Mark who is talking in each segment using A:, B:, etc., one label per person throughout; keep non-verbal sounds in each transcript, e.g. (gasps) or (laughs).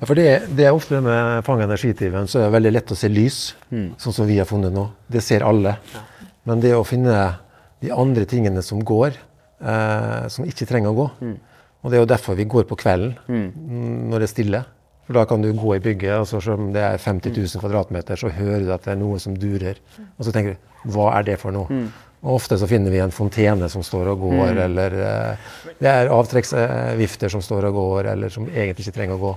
A: Ja, for det, det er ofte med fang- og energityven så er det veldig lett å se lys, sånn som vi har funnet nå. Det ser alle. Men det å finne de andre tingene som går, eh, som ikke trenger å gå. Og det er jo derfor vi går på kvelden, mm, når det er stille. For da kan du gå i bygget, og så selv om det er 50 000 kvadratmeter, så hører du at det er noe som durer. Og så tenker du hva er det for noe? Og ofte så finner vi en fontene som står og går, eller eh, det er avtrekksvifter som står og går, eller som egentlig ikke trenger å gå.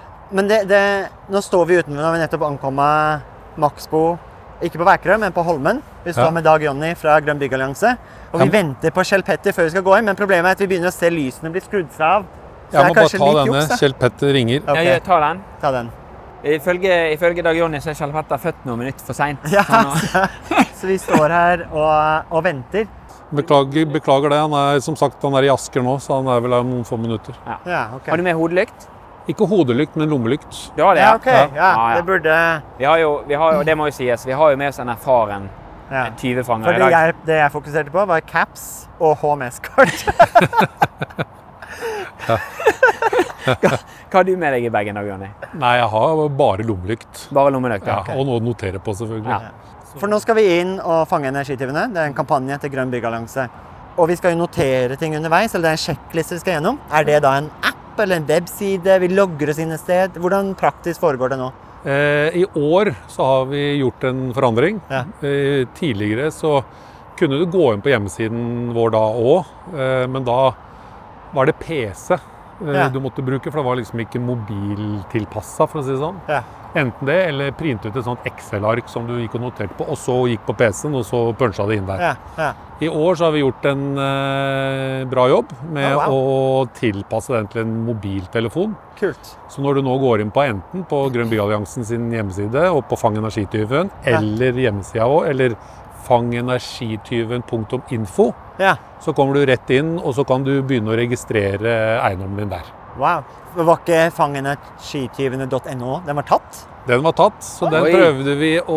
B: Men det, det, nå står vi utenfor, nå har vi nettopp ankommet Maxbo. Ikke på Vækerø, men på Holmen. Vi står
A: Ja.
B: med Dag Jonny fra Grønn byggallianse. Og vi
C: Jeg-
B: venter på Kjell Petter før vi skal gå inn, men problemet er at vi begynner å se lysene bli skrudd seg av. Så det
C: Jeg
B: er
C: må bare
B: kanskje
C: ta
B: litt
C: denne.
B: juks, da.
C: Kjell Petter ringer.
B: Ok,
D: Jeg tar den.
B: ta den.
D: Ifølge, ifølge Dag Jonny så er Kjell Petter født noen minutter for seint.
B: (laughs) Ja, så, så vi står her og, og venter.
C: Beklager, beklager det. Han er som sagt han er i Asker nå, så han er vel her om noen få minutter.
B: Ja, ok.
D: Har du med hodelykt?
C: Ikke hodelykt, men lommelykt.
D: Du har det?
B: Ja, ok. Ja,
D: ja.
B: det burde
D: Vi har jo, vi har, jo- det må jo sies, vi har jo med oss en erfaren
B: ja. For
D: tyvefanger i
B: det
D: dag.
B: jeg, det jeg fokuserte på, var caps og HMS-kort.
D: (laughs) Hva har du med deg i bagen, Dag Jonny?
C: Nei, jeg har bare lommelykt.
D: Bare lommelykt?
C: Ja,
D: Ja.
C: og noe å notere på, selvfølgelig.
D: Ja.
B: (laughs) For nå skal vi inn og fange energityvene. Det er en kampanje til Grønn byggallianse. Og vi skal jo notere ting underveis, eller det er en sjekkliste vi skal gjennom. Er det da en app eller en webside? Vi logger oss inn et sted? Hvordan praktisk foregår det nå?
C: Eh, I år så har vi gjort en forandring.
B: Ja.
C: Eh, tidligere så kunne du gå inn på hjemmesiden vår da òg, eh, men da var det PC eh,
B: Ja.
C: du måtte bruke, for det var liksom ikke mobiltilpassa, for å si det sånn.
B: Ja.
C: Enten det, eller printe ut et sånt Excel-ark som du gikk og noterte på, og så gikk på PC-en, og så punsja det inn der.
B: Ja, ja.
C: I år så har vi gjort en eh, bra jobb med
B: Ja,
C: å tilpasse den til en mobiltelefon.
B: Kult.
C: Så når du nå går inn på enten på Grønn byalliansen sin hjemmeside og på Fang energityven,
B: Ja.
C: eller hjemmesida vår, eller fangenergityven.info,
B: Ja.
C: så kommer du rett inn, og så kan du begynne å registrere eiendommen din der.
B: Wow. Men Var ikke fangenergityvene.no? Den var tatt?
C: Den var tatt, så den
D: Oi.
C: prøvde vi å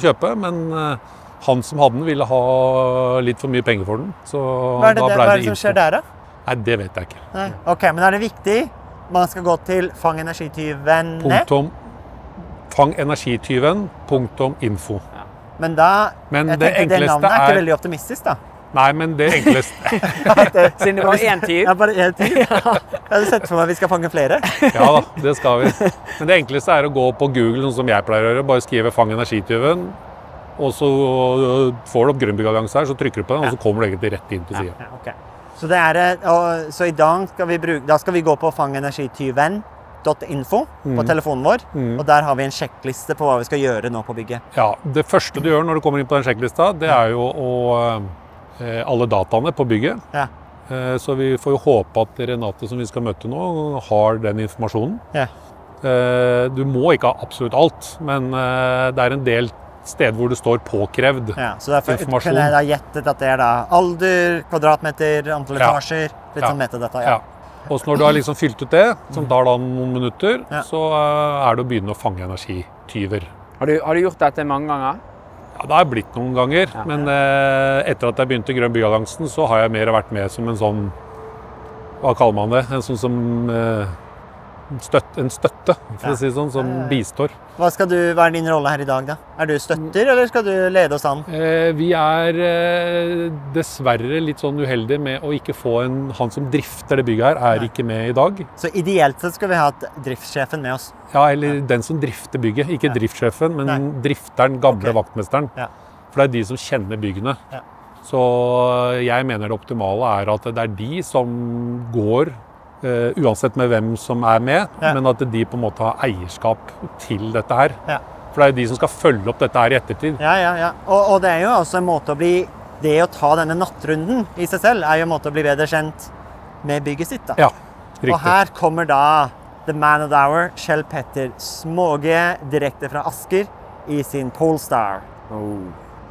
C: kjøpe, men eh, han som hadde den, ville ha litt for mye penger for den. Så
B: Hva er det,
C: da
B: det,
C: ble
B: hva er det som
C: info.
B: skjer der, da?
C: Nei, det vet jeg ikke.
B: Nei. Ok, men er det viktig? Man skal gå til fangenergityvene,
C: Punktum fangenergityven. Punktum info.
B: men da
C: Men
B: jeg
C: det
B: tenker Det
C: enkleste
B: navnet er ikke
C: er-
B: veldig optimistisk,
C: (laughs)
B: da.
C: Nei, men det enkleste
B: (laughs)
D: Siden det var én tyv.
B: Ja, bare én
D: (laughs)
B: til. Jeg hadde sett for meg at vi skal fange flere.
C: Ja da, det skal vi. Men det enkleste er å gå på Google, sånn som jeg pleier å gjøre. Bare skrive 'fang energityven', og så øh, får du opp Grønnbyggallianse her, så trykker du på den, og så kommer du egentlig rett inn til sida.
B: Ja, ok. Så, det er, eh, og, så i dag skal vi, bruke, da skal vi gå på fangenergityven.info
C: Mm.
B: på telefonen vår. Og der har vi en sjekkliste på hva vi skal gjøre nå på bygget.
C: Ja, det første du gjør når du kommer inn på den sjekklista, det er jo å øh, alle dataene på bygget.
B: Ja.
C: Eh, Så vi får jo håpe at Renate, som vi skal møte nå, har den informasjonen.
B: Ja.
C: Eh, Du må ikke ha absolutt alt, men eh, det er en del steder hvor det står 'påkrevd'.
B: Ja, så derfor
C: Informasjon.
B: kunne jeg da gjettet at det er da alder, kvadratmeter, antall
C: Ja.
B: etasjer. Litt
C: Ja.
B: sånn metadata.
C: Ja.
B: Ja.
C: Og så når du har liksom fylt ut det, som tar da noen minutter,
B: Ja.
C: så eh, er det å begynne å fange energityver.
D: Har du, har du gjort dette mange ganger?
C: Ja, det har blitt noen ganger,
D: Ja.
C: men eh, etter at jeg begynte i Grønn byalliansen, så har jeg mer vært med som en sånn Hva kaller man det? En sånn som eh, en støtt, En støtte, for
B: Ja.
C: å si det sånn, som
B: Ja, ja, ja.
C: bistår.
B: Hva, skal du, hva er din rolle her i dag, da? Er du støtter, eller skal du lede oss an?
C: Eh, vi er eh, dessverre litt sånn uheldige med å ikke få en Han som drifter det bygget her, er
B: Nei.
C: ikke med i dag.
B: Så ideelt sett skulle vi hatt driftssjefen med oss.
C: Ja, eller den som drifter bygget. Ikke driftssjefen, men
B: Nei.
C: drifteren, gamle
B: Ok.
C: vaktmesteren.
B: Ja.
C: For det er de som kjenner byggene.
B: Ja.
C: Så jeg mener det optimale er at det er de som går, eh, uansett med hvem som er med,
B: Ja.
C: men at de på en måte har eierskap til dette her.
B: Ja.
C: For det er jo de som skal følge opp dette her i ettertid.
B: Ja, ja, ja. Og, og det er jo også en måte å bli Det å ta denne nattrunden i seg selv er jo en måte å bli bedre kjent med bygget sitt, da.
C: Ja,
B: og
C: riktig.
B: her kommer da The Man of the Hour, Kjell Petter Småge, direkte fra Asker, i sin Polestar.
D: Oh.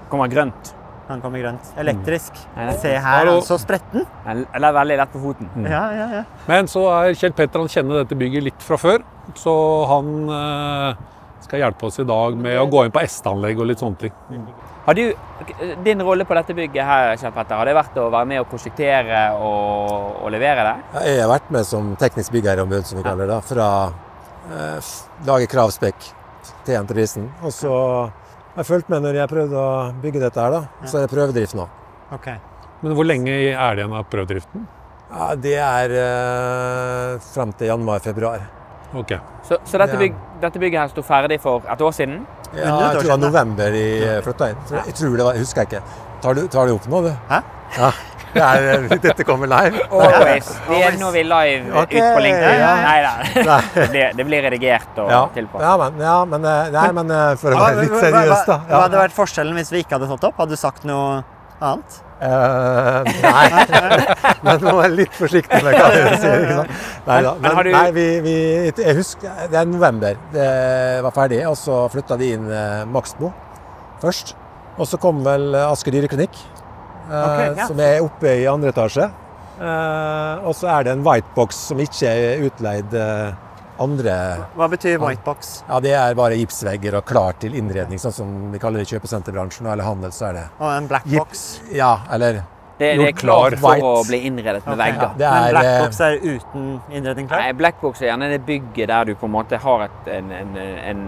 D: Kommer grønt.
B: Han kommer grønt. Elektrisk.
D: Elektrisk.
B: Se her,
C: Hallo.
B: han så spretten.
D: Eller eller veldig lett på foten.
B: Ja, ja, ja.
C: Men så er Kjell Petter han kjenner dette bygget litt fra før, så han eh, skal hjelpe oss i dag med å gå inn på S-anlegg og litt sånne ting.
D: Har du, din rolle på dette bygget her, Kjell Petter, har det vært å være med å prosjektere og, og levere det?
A: Ja, Jeg har vært med som teknisk byggherreombud, som vi kaller det, da, fra eh, f- lage kravspekk til entreprisen. Og så har jeg fulgt med når jeg prøvde å bygge dette her, da. Så er det prøvedrift nå.
B: Ok.
C: Men hvor lenge er det igjen av prøvedriften?
A: Ja, det er eh, fram til januar-februar.
C: Ok.
D: Så, så dette,
A: Ja.
D: bygg, dette bygget her sto ferdig for et år siden?
A: Ja,
B: Under et
A: jeg
B: år
A: tror det var
B: siden,
A: november de eh, flytta inn. Så Jeg tror det var, jeg husker jeg ikke. Tar du, tar du opp nå, du?
B: Hæ?
A: Ja. (laughs) Det er, eh, dette kommer live.
D: Always. Det er
B: Always.
D: nå vi live
A: Ok,
D: ut på LinkedIn.
B: ja.
D: Nei da. (laughs) Det blir, det blir redigert og
A: Ja,
D: tilpasset.
A: ja, men, ja, men, eh, nei, men eh, for å
B: Hva,
A: være
B: hva,
A: litt
B: hva, hva,
A: seriøs, da.
B: hva hadde vært forskjellen hvis vi ikke hadde stått opp? Hadde du sagt noe annet?
A: Eh, nei, (laughs) men nå er jeg litt forsiktig med hva jeg sier. ikke sant? Nei da.
D: men
A: Men,
D: har du-
A: nei, vi, vi, jeg husker, det er november. Det var ferdig, og så flytta de inn eh, Maxbo først. Og så kom vel Asker dyreklinikk, eh,
B: Ok, ja.
A: som er oppe i andre etasje. Eh, og så er det en whitebox som ikke er utleid eh, andre
B: Hva betyr whitebox?
A: Ja, det er bare gipsvegger og klar til innredning, sånn som vi kaller det i kjøpesenterbransjen. Eller handel, så er det
B: Og en
A: Jip.
B: blackbox?
A: Ja, eller
D: Det, det er
A: Gjort
D: klart
A: klar,
D: for
A: white.
D: å bli innredet
B: Ok.
D: med
A: ja,
D: vegger.
A: Det
B: Men
A: er eh,
B: blackbox er uten innredning klar?
D: Nei, Blackbox er gjerne det bygget der du på en måte har et, en, en, en,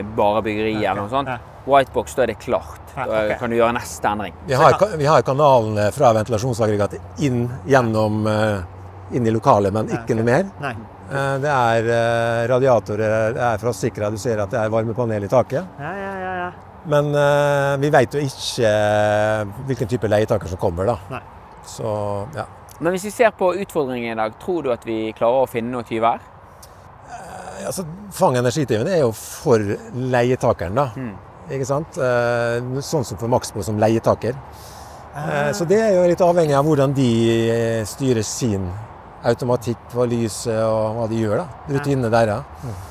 D: en bare byggeri eller noe
B: Ja.
D: sånt. Whitebox, da er det klart.
B: Ja,
D: Da
B: ok.
D: kan du gjøre neste endring.
A: Vi har, ka- vi har kanalene fra ventilasjonsaggregatet inn gjennom eh, inn i lokalet, men ikke noe mer.
B: Nei.
A: Eh, Det er eh, radiatorer det er frostsikra. Du ser at det er varmepanel i taket.
B: Ja, ja, ja, ja.
A: Men eh, vi veit jo ikke eh, hvilken type leietaker som kommer, da.
B: Nei.
A: Så ja.
D: Men hvis vi ser på utfordringen i dag, tror du at vi klarer å finne noen tyver?
A: Altså, Fang energitimen er jo for leietakeren, da.
B: Mm.
A: Ikke sant? Eh, Sånn som for Maxbo som leietaker. Eh, Så det er jo litt avhengig av hvordan de eh, styrer sin automatikk på lyset og hva de gjør, da. Rutinene deres.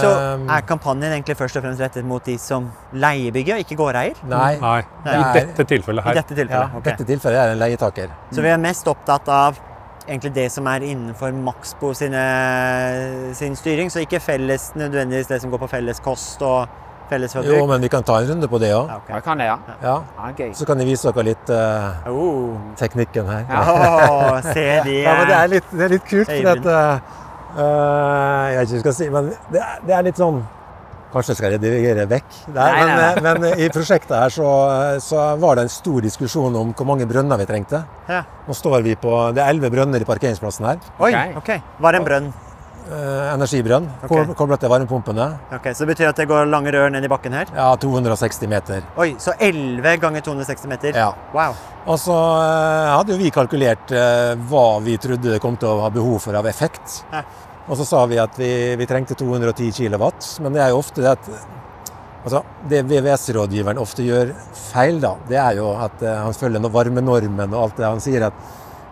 B: Så
A: Um,
B: er kampanjen egentlig først og fremst rettet mot de som leiebygger og ikke gårdeier?
A: Nei.
C: Nei, i
A: Nei.
C: dette tilfellet
B: I
C: her.
B: dette
A: Ja,
B: tilfellet? Mm. ok.
A: dette tilfellet er det en leietaker.
B: Så vi er mest opptatt av egentlig det som er innenfor Maxbo sine,
A: (laughs)
B: sin styring, så ikke felles nødvendigvis det som går på felles kost og felles
A: Jo,
B: forbruk.
A: men vi kan ta en runde på det òg.
B: Ja, ok.
D: Ja, kan det, ja.
A: Ja.
D: ja gøy.
A: Så kan jeg vise dere litt eh,
B: Oh.
A: teknikken her.
B: Åh, se de
A: Ja, men det er litt, det er litt kult, for
B: Øyvind.
A: at eh, Jeg vet ikke hva jeg skal si, men det er, det er litt sånn Kanskje skal jeg dirigere vekk der,
D: Nei,
A: men,
D: nei,
A: eh, men i prosjektet her så, så var det en stor diskusjon om hvor mange brønner vi trengte.
B: Ja.
A: Nå står vi på Det er elleve brønner i parkeringsplassen her.
B: Oi,
D: Ok.
B: ok. Var en brønn.
A: Eh, energibrønn
B: Ok.
A: ko- koblet til varmepumpene.
B: Ok, Så det betyr at det går lange rør ned i bakken her?
A: Ja, 260 meter.
B: Oi, så 11 ganger 260 meter?
A: Ja.
B: Wow.
A: Og så eh, hadde jo vi kalkulert eh, hva vi trodde det kom til å ha behov for av effekt.
B: Ja.
A: Og så sa vi at vi, vi trengte 210 kilowatt, men det er jo ofte det at Altså, det VVS-rådgiveren ofte gjør feil, da, det er jo at eh, han følger no- varmenormen og alt det. Han sier at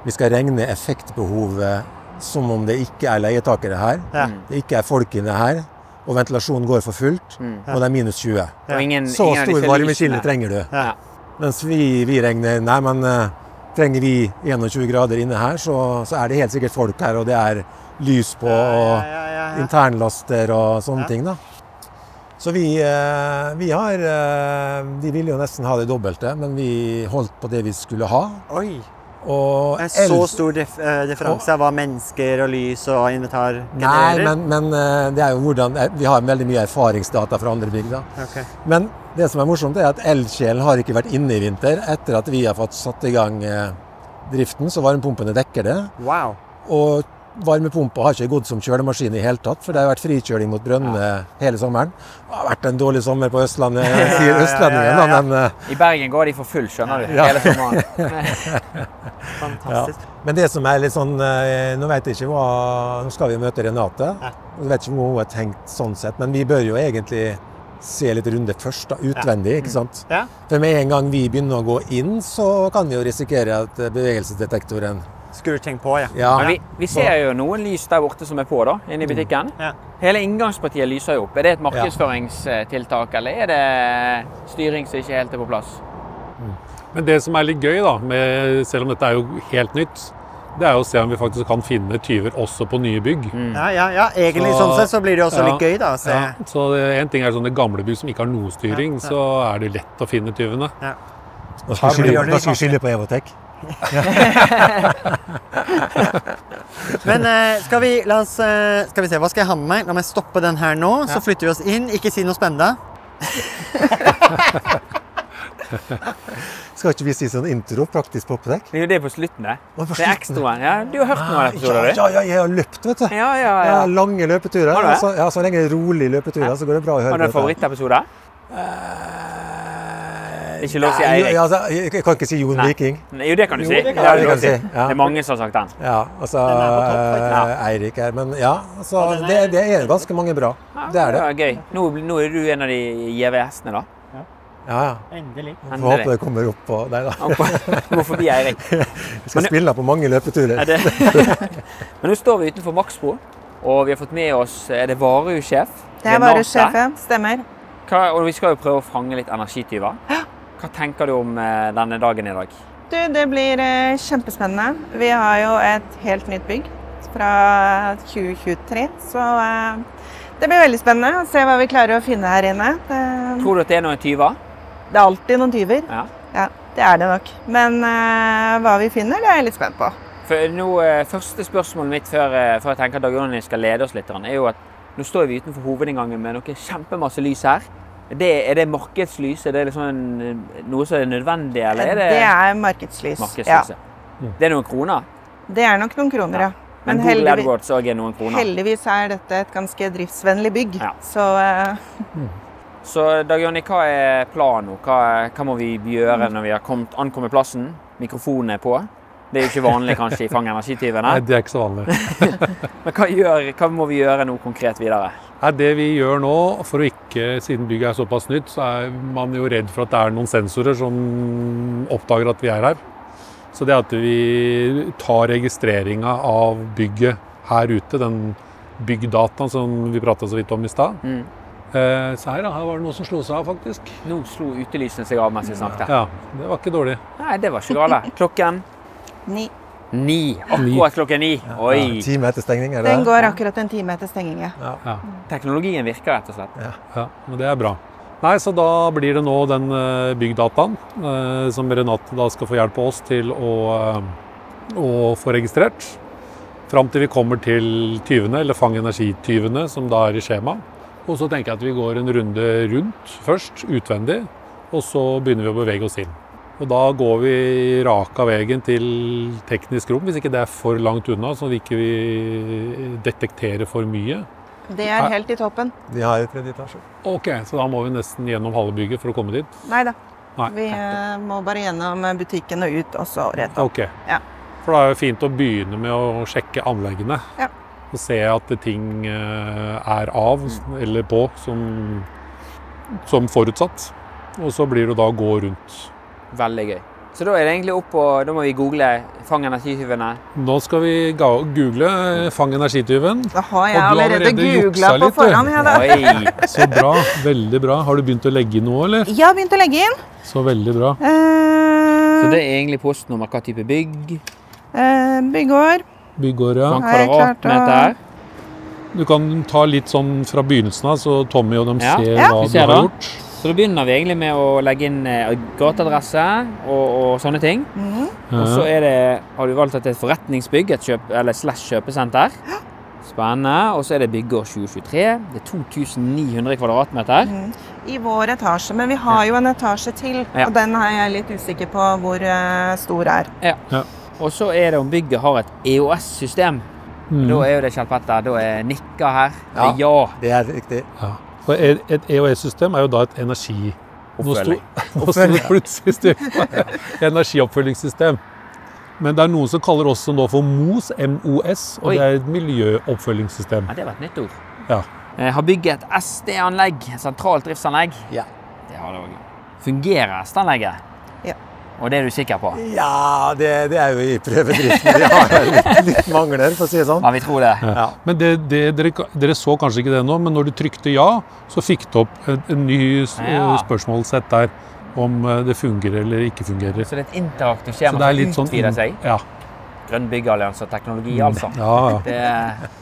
A: vi skal regne effektbehovet som om det ikke er leietakere her,
B: Ja.
A: det ikke er folk inne her, og ventilasjonen går for fullt, og det er minus 20.
D: Og ingen,
A: Så
D: ingen av disse
A: stor varmekilde
D: lysene-
A: trenger du.
B: Ja.
A: Mens vi, vi regner Nei, men eh, trenger vi 21 grader inne her, så, så er det helt sikkert folk her, og det er lys på,
B: Ja,
A: og
B: ja, ja, ja.
A: internlaster og sånne
B: Ja.
A: ting, da. Så vi, eh, vi har eh, De ville jo nesten ha det dobbelte, men vi holdt på det vi skulle ha.
B: Oi.
A: Og
B: En så
A: el-
B: stor dif eh, differanse av hva mennesker og lys og inventar
A: Nei,
B: genererer?
A: men, men eh, det er jo hvordan eh, Vi har veldig mye erfaringsdata fra andre bygder.
B: Ok.
A: Men det som er morsomt, er at elkjelen har ikke vært inne i vinter. Etter at vi har fått satt i gang eh, driften, så varmepumpene dekker det.
B: Wow.
A: Og varmepumpa har ikke gått som kjølemaskin i hele tatt, for det har vært frikjøling mot brønnene hele sommeren. Det har vært en dårlig sommer på
B: (laughs)
A: Østlandet,
B: ja,
A: sier
B: ja,
A: østlendingen,
B: ja, ja.
A: da, men eh,
D: I Bergen går de for full, skjønner du.
A: Ja.
D: Hele sommeren.
A: ja.
B: Fantastisk.
A: Men det som er litt sånn eh, Nå vet jeg ikke hva Nå skal vi jo møte Renate. og Jeg vet ikke hva hun har tenkt sånn sett, men vi bør jo egentlig se litt runde først, da, utvendig. ikke sant?
B: Ja.
A: For med en gang vi begynner å gå inn, så kan vi jo risikere at eh, bevegelsesdetektoren
B: skrur ting på, ja.
A: Ja.
D: Men vi, vi ser jo noen lys der borte som er på, da,
A: Mm.
D: inne i butikken.
B: Ja.
D: Hele inngangspartiet lyser jo opp. Er det et markedsføringstiltak, eller er det styring som ikke helt er på plass?
C: Men det som er litt gøy, da, med, selv om dette er jo helt nytt, det er jo å se om vi faktisk kan finne tyver også på nye bygg.
A: Mm.
B: Ja, ja, ja. Egentlig
C: Så-
B: sånn sett så blir det jo også litt
C: Ja.
B: gøy, da. å Se.
C: Ja, så en ting er sånne gamle bygg som ikke har noe styring, så er det lett å finne tyvene.
A: Da skal vi
B: Her blir
A: skylde-
B: det
A: da skal vi skylde på Evotech.
B: Men eh, skal, vi, la oss, eh, skal vi se, hva skal jeg ha med meg? La meg stoppe den her nå, så flytter vi oss inn. Ikke si noe spennende.
A: Skal ikke vi si sånn intro, praktisk på Evotech?
D: Det er jo det på slutten, det.
A: Å, på
D: Det er
A: slutten.
D: ekstraen. Ja, du har hørt noen episoder,
A: Ja,
D: du?
A: ja, ja, jeg har løpt, vet du.
D: Ja, ja,
A: Jeg
D: ja.
A: har lange løpeturer.
D: Har du det?
A: Altså, ja, så lenge det er rolige løpeturer, så går det bra å høre
D: Har du
A: på
D: en
A: dette.
D: favorittepisode? Ikke lov å si
A: Eh, Nei,
D: Eirik.
A: Ja, altså, jeg jeg kan ikke si Jon
D: Nei.
A: Viking.
D: Jo, det kan du
A: Jo,
D: si.
A: det kan
D: Ja,
A: jeg.
D: du kan si.
A: Ja.
D: Det er mange som har sagt den.
A: Ja, altså
B: Den er på topp, faktisk.
A: eh, Eirik her. Men ja, altså,
B: Ja, den er-
A: det, det er ganske mange bra. Det er det.
D: Ja, gøy. Nå, blir- nå er du en av de gjeve hestene, da.
A: Ja, ja.
B: Endelig.
A: Får håpe det kommer opp på Nei da.
D: Du må forbi Eirik.
A: (laughs) Jeg skal spille på mange
D: Er
A: løpeturer.
D: det... (laughs) Men nå står vi utenfor Maxbo, og vi har fått med oss Er det varehussjef?
E: Det er
D: Renate.
E: varesjefen. Stemmer.
D: Hva- Og vi skal jo prøve å fange litt energityver. Hva tenker du om eh, denne dagen i dag?
E: Du, det blir eh, kjempespennende. Vi har jo et helt nytt bygg fra 2023, så eh, det blir veldig spennende å se hva vi klarer å finne her inne. Det,
D: Tror du at det er noen tyver?
E: det er alltid noen tyver.
D: Ja.
E: Det er det nok. Men eh, hva vi finner, det er jeg litt spent på.
D: For nå, eh, første spørsmålet mitt før, eh, før jeg tenker at Dag Jonny skal lede oss litt, er jo at nå står vi utenfor hovedinngangen med noe kjempemasse lys her. Det, er det markedslys? Er det liksom en, noe som er nødvendig, eller er det,
E: Det er markedslys. Ja.
D: markedslyset? Det er noen kroner.
E: Det er nok noen kroner, ja.
D: Men,
E: Men
D: Google
E: heldigvis-
D: AdWords også er noen kroner.
E: Heldigvis er dette et ganske driftsvennlig bygg,
D: Ja.
E: så eh,
D: Så Dag Jonny, hva er planen nå? Hva, hva må vi gjøre når vi har kommet, ankommet plassen? Mikrofonen er på. Det er jo ikke (laughs) vanlig kanskje i Fang Energityvene.
C: Nei, det er ikke så vanlig.
D: Men hva, gjør, hva må vi gjøre nå konkret videre?
C: Nei, det vi gjør nå, for å ikke, siden bygget er såpass nytt, så er man jo redd for at det er noen sensorer som oppdager at vi er her. Så det at vi tar registreringa av bygget her ute, den byggdataen som vi prata så vidt om i stad.
D: Mm.
C: Eh, se her, da. Her var det noen som slo seg av, faktisk.
D: Nå slo utelysene seg av mens vi snakket.
C: Ja, Det var ikke dårlig.
D: Nei, det var ikke gale. Klokken
E: ni.
D: (laughs) ni. Akkurat klokken ni.
A: Ja,
D: Oi.
A: Time etter stengning, er det
E: Den
A: det?
E: går akkurat en time etter stenging. ja.
D: Teknologien virker rett og slett.
C: Ja, men det er bra. Nei, så da blir det nå den eh, byggdataen eh, som Renate da skal få hjelpe oss til å, eh, å få registrert. Fram til vi kommer til tyvene, eller Fang Energi-tyvene, som da er i skjema. Og så tenker jeg at vi går en runde rundt først, utvendig, og så begynner vi å bevege oss inn. Og da går vi rak av veien til teknisk rom, hvis ikke det er for langt unna, så vi ikke vi detekterer for mye.
E: Det er helt i toppen.
A: Vi har jo tredje etasje.
C: Ok, så da må vi nesten gjennom halve bygget for å komme dit.
E: Nei da.
C: Nei.
E: Vi eh, må bare gjennom butikken og ut, og så rett opp.
C: Ok.
E: Ja.
C: For da er det fint å begynne med å sjekke anleggene.
E: Ja.
C: Og se at det ting eh, er av
E: Mm.
C: eller på som, som forutsatt. Og så blir det da å gå rundt.
D: Veldig gøy. Så da er det egentlig opp og da må vi google Fang Energityvene.
C: Nå skal vi ga google Fang energityven.
E: (laughs) Da har
C: Og
E: jeg
C: du har
E: allerede
C: allerede
E: googla
C: juksa
E: på
C: litt, du.
E: forhånd. Jeg, da.
D: Oi.
C: Så bra. Veldig bra. Har du begynt å legge noe, eller?
E: jeg har begynt å legge inn.
C: Så veldig bra.
E: Eh,
D: Så det er egentlig postnummer, hva type bygg, Sånn
E: eh, byggår.
C: Byggår, ja.
D: hva
E: Har jeg klart å-
D: kvadratmeter.
C: Du kan ta litt sånn fra begynnelsen av, så Tommy og dem
D: Ja.
C: ser
E: Ja.
C: hva
D: Vi
C: du
D: ser
C: har
D: det.
C: gjort.
D: Så da begynner vi egentlig med å legge inn eh, gateadresse og, og sånne ting.
E: Mhm.
D: Og så er det, har du valgt at det er et forretningsbygg, et kjøp, eller slash kjøpesenter. Spennende. Og så er det byggeår 2023. Det er 2900 kvadratmeter.
E: mm. I vår etasje, men vi har jo en etasje til.
D: Ja.
E: Og den er jeg litt usikker på hvor eh, stor er.
D: Og så er det om bygget har et EOS-system.
C: Mm.
D: Da er jo det Kjell Petter. Da er nikka her.
A: Ja.
D: Ja.
A: Det er riktig.
C: Ja. For et et EOS-system er jo da et energi... Nå sto- (laughs)
D: Oppfølging.
C: Nå sto det plutselig stille. (laughs) Energioppfølgingssystem. Men det er noen som kaller oss nå for MOS, MOS, og
D: Oi.
C: det er et miljøoppfølgingssystem.
D: Ja, det var et nytt ord.
C: Ja.
D: Eh, Har bygget et SD-anlegg, sentralt driftsanlegg.
A: Ja.
D: Det har det også. Fungerer SD-anlegget?
E: Ja.
D: Og det er du sikker på?
A: Ja, det, det er jo i prøvedriften. Vi har litt, litt mangler, for å si det sånn.
D: Ja, vi tror det.
A: Ja.
C: Men det, det, dere, dere så kanskje ikke det nå, men når du trykte ja, så fikk du opp en, en ny s- eh,
D: Ja.
C: spørsmålssett der om eh, det fungerer eller ikke fungerer.
D: Så det er et interaktivt
C: Så
D: skjema
C: det er
D: som
C: litt sånn
D: utvider seg.
C: Ja,
D: Grønn byggallianse og teknologi, altså.
C: ja, ja.
D: Det,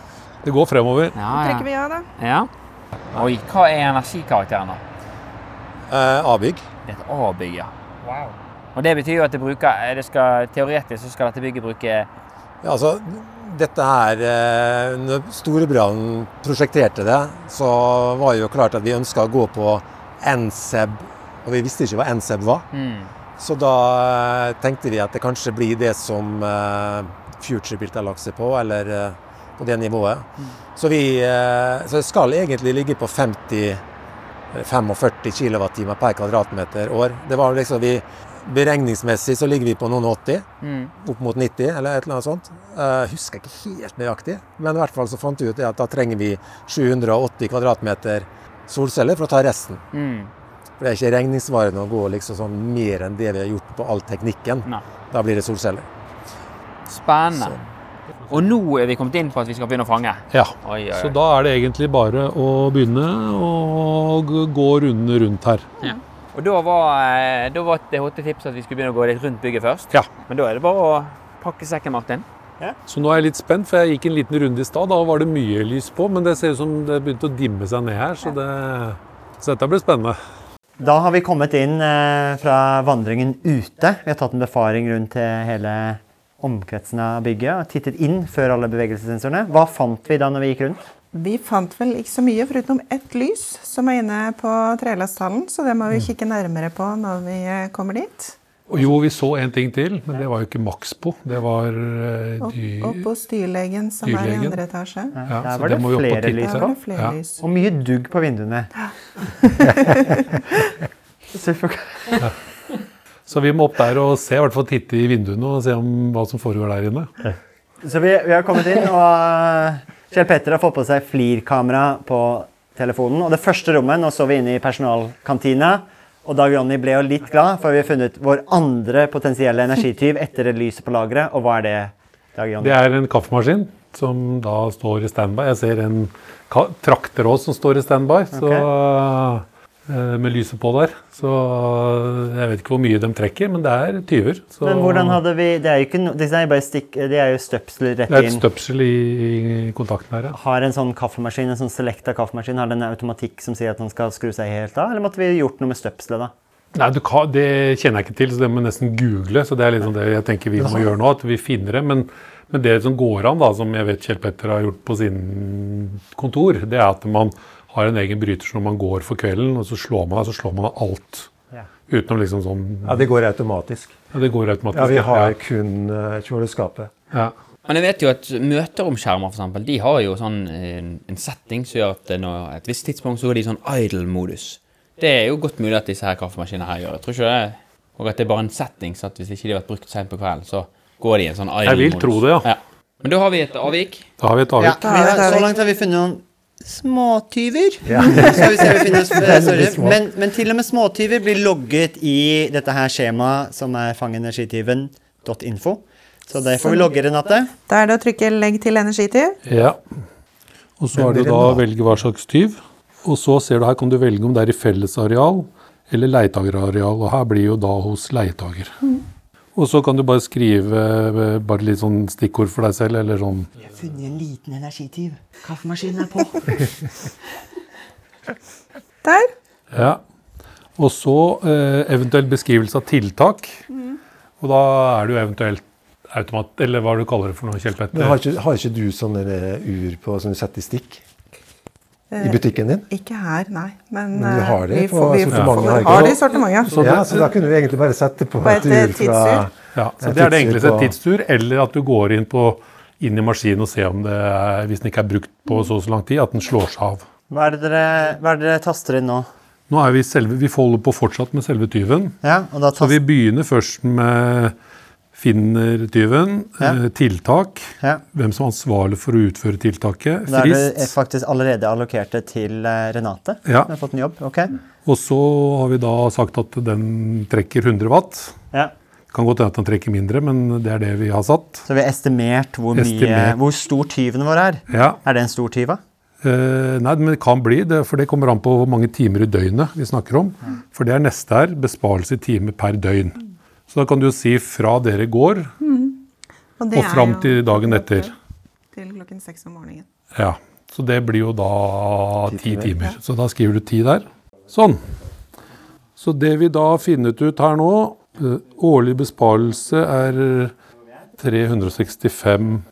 C: Det går fremover.
D: ja, ja.
E: Trykker vi ja, da?
D: ja. Oi, hva er energikarakteren, da?
A: Eh, Avbygg.
D: Det er et A-bygg, ja. Og det betyr jo at det bruker, eh, det skal, teoretisk så skal dette bygget bruke
A: Ja, altså, dette her eh, Når Storebrand prosjekterte det, så var det jo klart at vi ønska å gå på NCEB, og vi visste ikke hva NCEB var.
E: Hmm.
A: Så da eh, tenkte vi at det kanskje blir det som eh, Futurebilt har lagt seg på, eller eh, på det nivået. Så, vi, eh, så det skal egentlig ligge på 50 eller 45 kWt per kvadratmeter år. Det var liksom vi, Beregningsmessig så ligger vi på noen 80 opp mot 90, eller et eller annet sånt. Eh, husker ikke helt nøyaktig, men i hvert fall så fant vi ut det at da trenger vi 780 kvadratmeter solceller for å ta resten.
E: Hmm.
A: For det er ikke regningssvarende å gå liksom sånn mer enn det vi har gjort på all teknikken.
D: Nei.
A: Da blir det solceller.
D: Spennende. Og nå er vi kommet inn på at vi skal begynne å fange.
C: Ja.
D: Oi, oi,
C: Så
D: oi.
C: da er det egentlig bare å begynne å g- gå rundene rundt her.
D: Og da var, eh, da var det hotte tipset at vi skulle begynne å gå litt rundt bygget først.
C: Ja.
D: Men da er det bare å pakke sekken, Martin.
C: Så nå er jeg litt spent, for jeg gikk en liten runde i stad. Da var det mye lys på, men det ser ut som det begynte å dimme seg ned her. Så, det, så dette blir spennende.
B: Da har vi kommet inn eh, fra vandringen ute. Vi har tatt en befaring rundt til hele omkretsen av bygget og tittet inn før alle bevegelsessensorene. Hva fant vi da når vi gikk rundt?
E: Vi fant vel ikke så mye, foruten ett lys som er inne på trelasthallen. Så det må vi
C: Mm.
E: kikke nærmere på når vi eh, kommer dit.
C: Og jo, vi så en ting til, men det var jo ikke maks på. Det var eh,
E: Opp,
C: dy-
E: opp hos dyrlegen, som er
C: Dyrlegen.
E: i andre etasje.
C: ja,
B: Der
C: så
B: var det
C: må vi opp og
B: flere
C: titte.
B: lys
E: Der var det flere
C: Ja.
E: lys.
B: Og mye dugg på vinduene. Så vi får-
C: Så vi må opp der og se, i hvert fall titte i vinduene og se om hva som foregår der inne.
B: Så vi, vi har kommet inn, og Kjell Petter har fått på seg flirkamera på telefonen. Og det første rommet, nå så vi inne i personalkantina, og Dag Ronny ble jo litt glad, for vi har funnet vår andre potensielle energityv etter det lyset på lageret. Og hva er det, Dag
C: Det
B: Ronny?
C: er en kaffemaskin som da står i standby. Jeg ser en ka- trakter også som står i standby, så, eh, med lyset på der. Så eh, jeg vet ikke hvor mye de trekker, men det er tyver. Så
B: Men hvordan hadde vi Det er jo ikke no, det er jo bare stikk, det er jo støpsel rett
C: det er et
B: inn.
C: støpsel i, i kontakten her. Ja.
B: Har en sånn kaffemaskin, en sånn selekta kaffemaskin, har den en automatikk som sier at den skal skru seg helt av? Eller måtte vi gjort noe med støpselet, da?
C: Nei, du kan, Det kjenner jeg ikke til, så det må jeg nesten google. så Det er liksom det jeg tenker vi må gjøre nå, at vi finner det. Men, men det som går an, da, som jeg vet Kjell Petter har gjort på sin kontor, det er at man har en egen bryter som når man går for kvelden, og så slår man av, så slår man av alt.
B: Ja.
C: Utenom liksom sånn
A: Ja, det går automatisk.
C: ja, Det går automatisk.
A: Ja, vi har kun eh, kjøleskapet.
C: ja.
F: Men jeg vet jo at møteromskjermer for eksempel, de har jo sånn en, en setting som gjør at eh, når et visst tidspunkt så går de i sånn idle-modus. Det er jo godt mulig at disse her kaffemaskinene her gjør det. Tror ikke det. Og at det er bare en setting, så at hvis ikke de har vært brukt sent på kvelden, så går de i en sånn idle-modus.
C: vil tro det, ja.
F: Men da har vi et avvik.
C: Da har vi et
B: Ja,
C: avvik.
B: vi har, så langt har vi funnet noen småtyver. (laughs) Skal vi se om vi finner (laughs) eh, sorry. Men, men til og med småtyver blir logget i dette her skjemaet som er fangenergityven.info. Så det får vi logge, Renate.
E: Da er det å trykke 'legg til energityv'.
C: Ja. Og så er det jo da å velge hva slags tyv. Og så ser du her kan du velge om det er i fellesareal eller leietagerareal. Og her blir jo da hos leietager. Og så kan du bare skrive eh, bare litt sånn stikkord for deg selv, eller sånn
B: Jeg har funnet en liten energityv. Kaffemaskinen er på.
E: Der.
C: Ja. Og så eh, eventuell beskrivelse av tiltak. Og da er det jo eventuelt automat... Eller hva er det du kaller det for noe, Kjell Petter?
A: Men har ikke, har ikke du sånne eh, ur på, som du setter i stikk i butikken din?
E: Ikke her, nei. Men,
A: Men vi
E: eh,
A: har det
E: vi
A: på
E: får- vi får-
A: sortimentet, har vi ikke
E: Har
A: det?
E: det i sortimentet, ja.
A: ja, så da kunne vi egentlig bare sette på,
E: På et,
A: et
E: eh,
A: ur fra
E: tidsur.
C: Ja, så
A: Ja,
C: det er det
A: tidsur
C: enkleste.
A: på-
C: Tidstur, eller at du går inn, på, inn i maskinen og ser om det er, hvis den ikke er brukt på så og så lang tid, at den slår seg av.
B: Hva er det dere, hva er det dere taster inn nå?
C: Nå er vi, selve, vi holder på fortsatt med selve tyven.
B: Ja, og da
C: Så vi
B: taster,
C: begynner først med finner tyven,
B: Ja.
C: eh, tiltak,
B: ja.
C: hvem som er ansvarlig for å utføre tiltaket,
B: Da er du
C: frist.
B: faktisk allerede allokerte til eh, Renate.
C: Ja.
B: Du har fått en jobb. Ok.
C: Og så har vi da sagt at den trekker 100 watt.
B: Ja.
C: Kan godt hende at den trekker mindre, men det er det vi har satt.
B: Så vi har estimert hvor, mye,
C: Estimert.
B: hvor stor tyven vår er.
C: Ja.
B: Er det en stor tyv, da?
C: Eh, nei, men det kan bli det, for det kommer an på hvor mange timer i døgnet vi snakker om. For det er neste her, besparelse i time per døgn. Så da kan du jo si fra dere går
E: Og,
C: og fram til dagen etter.
E: Til klokken seks om morgenen.
C: Ja, Så det blir jo da ti timer. Så da skriver du ti der. Sånn. Så det vi da har funnet ut her nå, eh, årlig besparelse er 365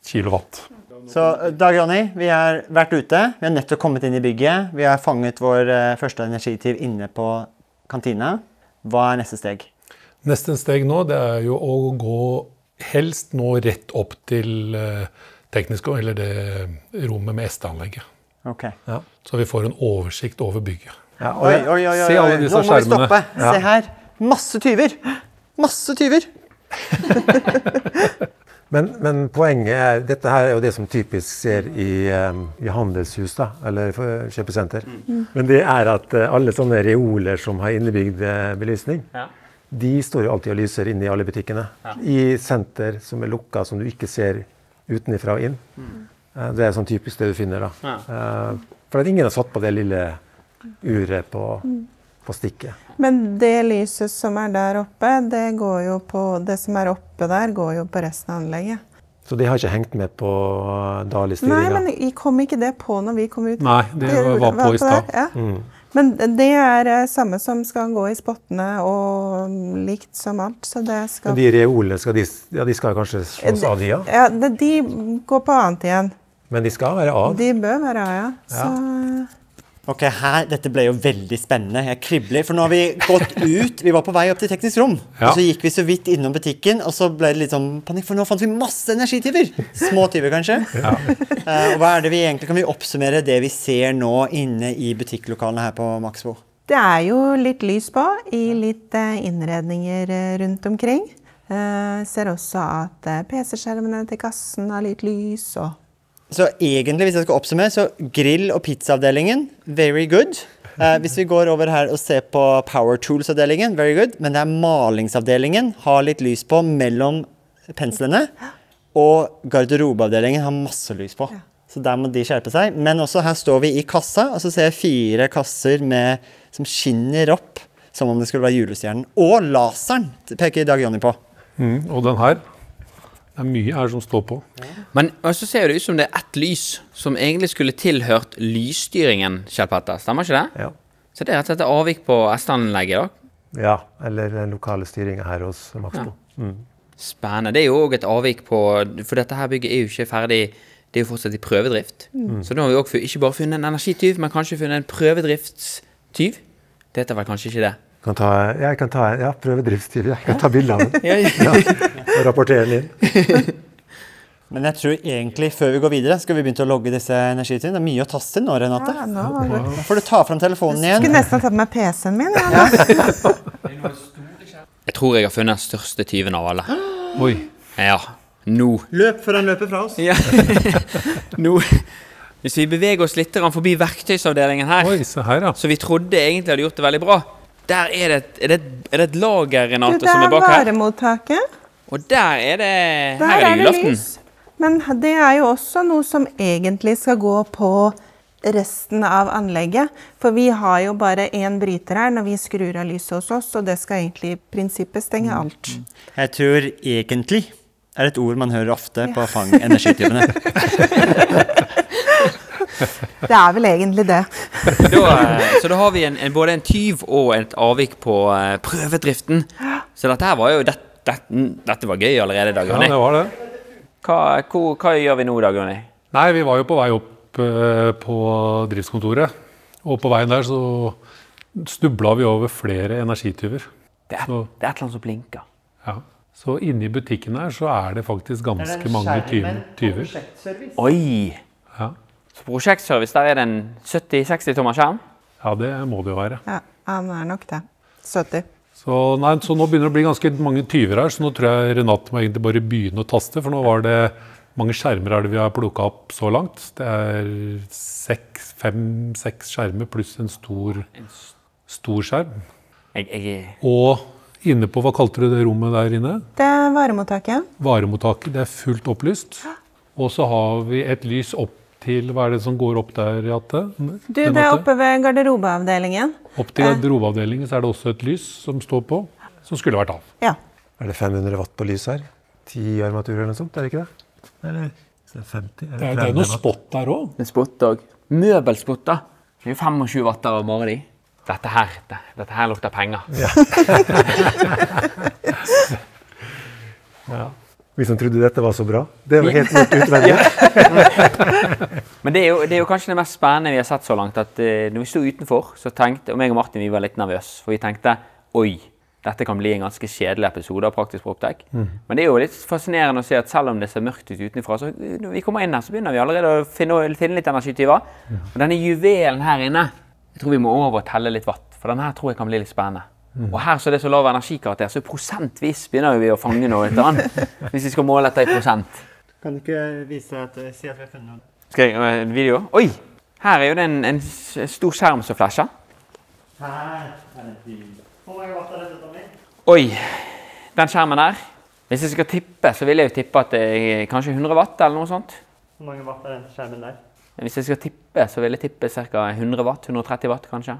C: kilowatt.
B: Så eh, Dag Ronny, vi har vært ute. Vi har nettopp kommet inn i bygget. Vi har fanget vår eh, første energitiv inne på kantina. Hva er neste steg?
C: Neste steg nå det er jo å gå helst nå rett opp til eh, teknisk, eller det rommet med ST-anlegget.
B: Ok.
C: Så vi får en oversikt over bygget.
A: Ja, og
B: Oi,
A: jeg-
B: oi, oi, oi.
C: Se alle
B: oi.
C: disse
B: Nå må vi
C: skjermene.
B: stoppe.
A: Ja.
B: Se her. Masse tyver. Masse tyver.
A: Men, men poenget er dette her er jo det som typisk ser i, em, i handelshus da, eller for- kjøpesenter.
E: Mm.
A: Men det er at eh, alle sånne reoler som har innebygd eh, belysning, de står jo alltid og lyser inne i alle butikkene. I senter som er lukka, som du ikke ser utenifra og inn. Eh, Det er sånn typisk det du finner. da. Eh, For at ingen har satt på det lille uret på,
E: Mm.
A: på stikket.
E: Men det lyset som er der oppe, det, går jo på, det som er oppe der, går jo på resten av anlegget.
A: Så det har ikke hengt med på eh,
E: Nei,
A: Dali-styringa.
E: men i- kom ikke det på når vi kom ut?
C: Nei, det var på i
E: der,
C: stad. Mm.
E: Ja. Men det er eh, samme som skal gå i spottene og mm, likt som alt, så det
A: Men
E: skal
A: de reolene skal, de, ja, de skal kanskje slås av, de, ja.
E: Ja, de, de går på annet igjen.
A: Men de skal være av.
E: De bør være av, ja. Så
B: Ok, her, Dette ble jo veldig spennende. Jeg kribler. For nå har vi gått ut. Vi var på vei opp til teknisk rom.
C: Ja.
B: Og så gikk vi så vidt innom butikken, og så ble det litt sånn panikk, for nå fant vi masse energityver. Små tyver, kanskje. Eh, og hva er det vi egentlig, Kan vi oppsummere det vi ser nå inne i butikklokalene her på Maxbo?
E: det er jo litt lys på i litt eh, innredninger eh, rundt omkring. Eh, ser også at eh, PC-skjermene til kassen har litt lys og
B: Så egentlig, hvis jeg skal oppsummere, så grill- og pizzaavdelingen, very good. Eh, hvis vi går over her og ser på power tools-avdelingen, very good. Men det er malingsavdelingen, har litt lys på mellom penslene. Og garderobeavdelingen har masse lys på. Så der må de skjerpe seg. Men også her står vi i kassa, og så ser jeg fire kasser med, som skinner opp som om det skulle være julestjernen. Og laseren peker Dag Jonny på.
C: Mm, og den her. Det er mye her som står på.
F: Men og så ser det ut som det er ett lys som egentlig skulle tilhørt lysstyringen, Kjell Petter. Stemmer ikke det?
A: Ja.
F: Så det er rett og slett et avvik på S-anlegget, da.
A: ja. Eller den lokale styringa her hos Maxbo.
F: Spennende. Det er jo òg et avvik på For dette her bygget er jo ikke ferdig. Det er jo fortsatt i prøvedrift.
C: Mm.
F: Så nå har vi òg ikke bare funnet en energityv, men kanskje funnet en prøvedriftstyv. Det heter vel kanskje ikke det.
A: Kan ta, jeg kan ta ja, prøve driftstid. Jeg kan ta bilde av den
F: Ja, ja.
A: og rapportere den inn.
B: Men jeg tror egentlig, før vi går videre, skal vi begynne å logge disse energityvene. Det er mye å taste inn nå, Renate.
E: Ja, nå var det
B: Da får du ta fram telefonen
E: Skulle
B: igjen.
E: nesten ha tatt med PC-en min. Ja, nå.
F: Jeg tror jeg har funnet den største tyven av alle.
C: (gasps) Oi.
F: Ja. Nå.
B: Løp før han løper fra oss.
F: Ja. (laughs) Nå. Hvis vi beveger oss litt grann forbi verktøysavdelingen her,
C: Oi, se her, ja.
F: så vi trodde egentlig hadde gjort det veldig bra Der er det et, er det et, er det et lager,
E: Du,
F: Renate,
E: det
F: som
E: er
F: er bak her.
E: varemottaket.
F: Og der er det Her
E: Der
F: er
E: er
F: det
E: det
F: julaften.
E: lys. Men det er jo også noe som egentlig skal gå på resten av anlegget. For vi har jo bare én bryter her når vi skrur av lyset hos oss, og det skal egentlig i prinsippet stenge
F: Mm.
E: alt.
B: Jeg tror egentlig er et ord man hører ofte på Fang (laughs) energityvene.
E: Det er vel egentlig det.
F: (laughs) Da, eh, så da har vi en, en, både en tyv og et avvik på eh, prøvedriften. Så dette her var jo det, det, Dette var gøy allerede, Dag
C: Ja,
F: Jonny.
C: det var det.
F: Hva, hvor- hva gjør vi nå, Dag Jonny?
C: Nei, vi var jo på vei opp eh, på driftskontoret. Og på veien der så snubla vi over flere energityver.
F: Det, er- det er
C: Så-
F: et eller annet som blinker.
C: Ja. Så inni butikken her så er det faktisk ganske mange tyver. tyver.
F: Oi!
C: Ja.
F: Så prosjektservice, der er det en 70-60 tommer skjerm.
C: ja, det må det jo være.
E: Ja, han er nok det. 70.
C: Så, nei, så nå begynner det å bli ganske mange tyver her, så nå tror jeg Renate må egentlig bare begynne å taste. For nå var det mange skjermer er det vi har plukka opp så langt. Det er seks, fem-seks skjermer pluss en stor, stor skjerm.
F: Jeg, jeg,
C: Og inne på Hva kalte du det rommet der inne?
E: Det er varemottaket.
C: Varemottaket. Det er fullt opplyst. Og så har vi et lys opp til Hva er det som går opp der, Jatte?
E: Du, det er oppe ved garderobeavdelingen.
C: Opp til garderobeavdelingen så er det også et lys som står på, som skulle vært av.
E: Ja.
A: Er det 500 watt på lys her? Ti armaturer eller noe sånt, er det ikke det? Eller så er det 50?
C: Det er, det er noe spot der òg.
D: En spott òg. Møbelspott, da. Det er jo 25 watter av bare de. Dette her, det, dette her lukter penger.
A: Vi som trodde dette var så bra. Det var helt mørkt (laughs) utvendig.
D: Men det er, jo, det er jo kanskje det mest spennende vi har sett så langt. at eh, når vi sto utenfor, så tenkte, og meg og Martin vi var litt nervøse. For vi tenkte oi, dette kan bli en ganske kjedelig episode av Praktisk Proptech. Men det er jo litt fascinerende å se at selv om det ser mørkt ut utenfra, så eh, når vi kommer inn her, så begynner vi allerede å finne, finne litt energityver. Og denne juvelen her inne jeg tror vi må over og telle litt watt. For denne her tror jeg kan bli litt spennende. Og her så er det så lav energikarakter, så prosentvis begynner vi å fange noe. etter han, Hvis vi skal måle dette i prosent.
B: Kan du ikke vise at, eh, si at vi har funnet noe?
D: Skal jeg eh, en video? Oi! Her er jo det en, en s- stor skjerm som flasher.
B: Her er det Hvor mange watt er det dette blir?
D: Oi! Den skjermen der. Hvis jeg skal tippe, så vil jeg jo tippe at det er kanskje 100 watt eller noe sånt.
B: Hvor mange watt er den skjermen der?
D: Hvis jeg skal tippe, så vil jeg tippe ca. 100 watt. 130 watt, kanskje.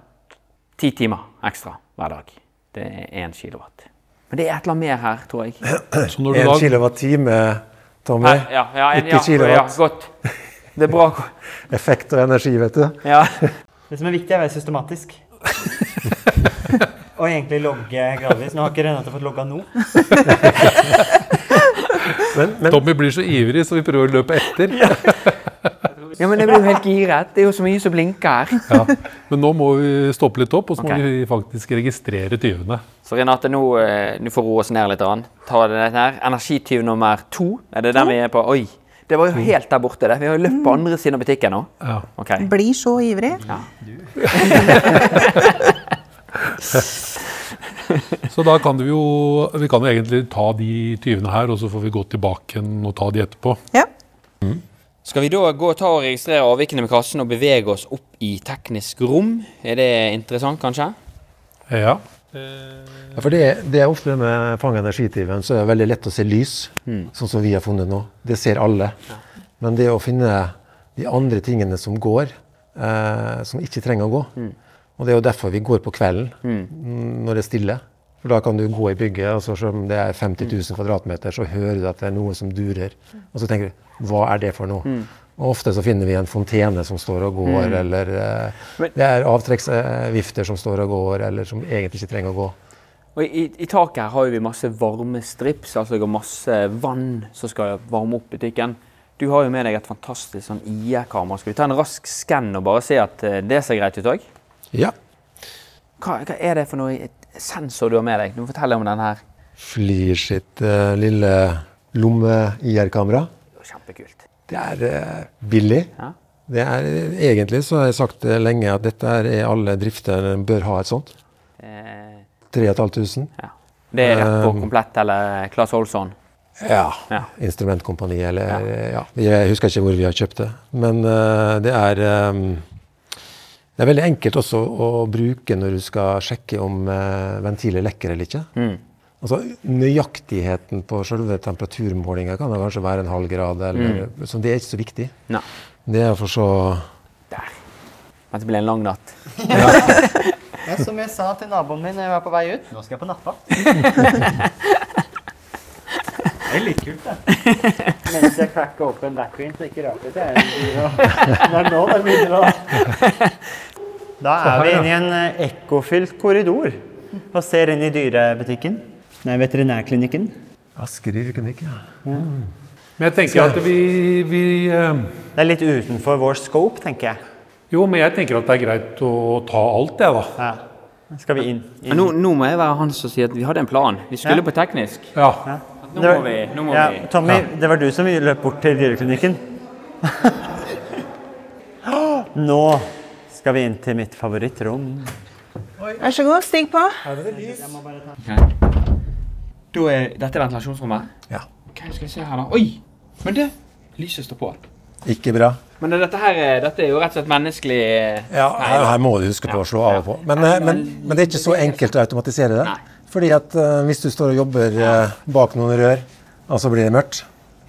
D: Ti timer ekstra hver dag. Det er én kilowatt. Men det er et eller annet mer her, tror jeg.
C: Så når du
A: Én
C: da
A: kilowatt-time, Tommy.
D: Her, ja, ja, en, ja,
A: Ikke kilowatt.
D: Ja, godt. Det er bra.
A: Effekt og energi, vet du.
D: Ja.
B: Det som er viktig, er å være systematisk. (laughs) og egentlig logge gradvis. Nå har ikke Renate fått logga nå.
A: Men, men
C: (laughs) Tommy blir så ivrig, så vi prøver å løpe etter.
D: ja, men jeg blir jo helt giret. Det er jo så mye som blinker her.
C: Ja. Men nå må vi stoppe litt opp, og så må
D: Ok.
C: vi faktisk registrere tyvene.
D: Så Renate, nå, eh, nå får roe oss ned litt. Ann. Ta det her. Energityv nummer to. Er det den vi er på? Oi! Det var jo helt der borte. det. Vi har jo løpt på andre siden av butikken nå.
C: Ja.
D: Ok.
E: Blir så ivrig.
C: Så da kan vi jo Vi kan jo egentlig ta de tyvene her, og så får vi gå tilbake igjen og ta de etterpå.
E: Ja.
D: Skal vi da gå og ta og registrere avvikene med kassen og bevege oss opp (laughs) i teknisk rom? Er det interessant, kanskje?
C: Ja.
A: Ja, for det, det er ofte med fang- og energityven, så er det veldig lett å se lys, sånn som vi har funnet nå. Det ser alle. Men det å finne de andre tingene som går, eh, som ikke trenger å gå. Og det er jo derfor vi går på kvelden, mm, når det er stille. For da kan du gå i bygget, og så selv om det er 50 000 kvadratmeter, så hører du at det er noe som durer. Og så tenker du, hva er det for noe? Og ofte så finner vi en fontene som står og går, eller eh,
D: Men-
A: det er avtrekksvifter som står og går, eller som egentlig ikke trenger å gå.
D: Og i, I taket her har jo vi masse varmestrips, altså jeg har masse vann som skal varme opp butikken. Du har jo med deg et fantastisk sånn IR-kamera. Skal vi ta en rask skann og bare se at eh, det ser greit ut òg?
A: Ja.
D: Hva, hva er det for noe et sensor du har med deg? Du må fortelle om den her.
A: Flir sitt eh, lille lomme-IR-kamera.
D: Det er jo Kjempekult.
A: Det er eh, billig.
D: Ja.
A: Det er, egentlig så har jeg sagt eh, lenge at dette er alle drifter bør ha et sånt.
D: Eh,
A: 3500.
D: ja. Det er rett på komplett eller Claes Olsson.
A: Ja.
D: Ja.
A: Instrumentkompani eller eh, ja. Jeg husker ikke hvor vi har kjøpt det. Men eh, det er eh, det er veldig enkelt også å bruke når du skal sjekke om eh, ventiler lekker eller ikke.
D: Mm.
A: Altså, nøyaktigheten på selve temperaturmålinga kan da kanskje være en halv grad, eller, så det er ikke så viktig.
D: Mm. Nei.
A: Det er for så
D: Der. Men det ble en lang natt.
B: Ja, som jeg sa til naboen min når jeg var på vei ut, nå skal jeg på nattvakt. (laughs) Det er litt kult, det. (laughs) Mens jeg cracker opp en backwing, så ikke rart at jeg (laughs) Det er nå det begynner å (laughs) Da er vi inne i en eh, ekkofylt korridor og ser inn i dyrebutikken. Nei, veterinærklinikken.
A: Asker yrkenikk, ja.
C: Men jeg tenker at vi, vi eh,
B: Det er litt utenfor vår scope, tenker jeg.
C: Jo, men jeg tenker at det er greit å ta alt, jeg, da.
B: Ja. Skal vi inn?
D: Men nå, nå må jeg være han som sier at vi hadde en plan. Vi skulle
B: Ja.
D: på teknisk.
C: Ja.
D: Nå må vi, nå må
B: ja,
D: vi.
B: Tommy, det var du som løp bort til dyreklinikken. (laughs) Nå skal vi inn til mitt favorittrom.
E: Vær så god, stig på.
D: Da er, dette er ventilasjonsrommet.
A: Ja.
D: Ok, skal vi se her da. Oi! Men det, lyset står på.
A: Ikke bra.
D: Men det- dette her, er- dette er jo rett og slett menneskelig... eh,
A: Ja, her, her må du huske på å slå av og på. Men, eh, men, men det er ikke så enkelt å automatisere det. Fordi at eh, hvis du står og jobber eh, bak noen rør, og så blir det mørkt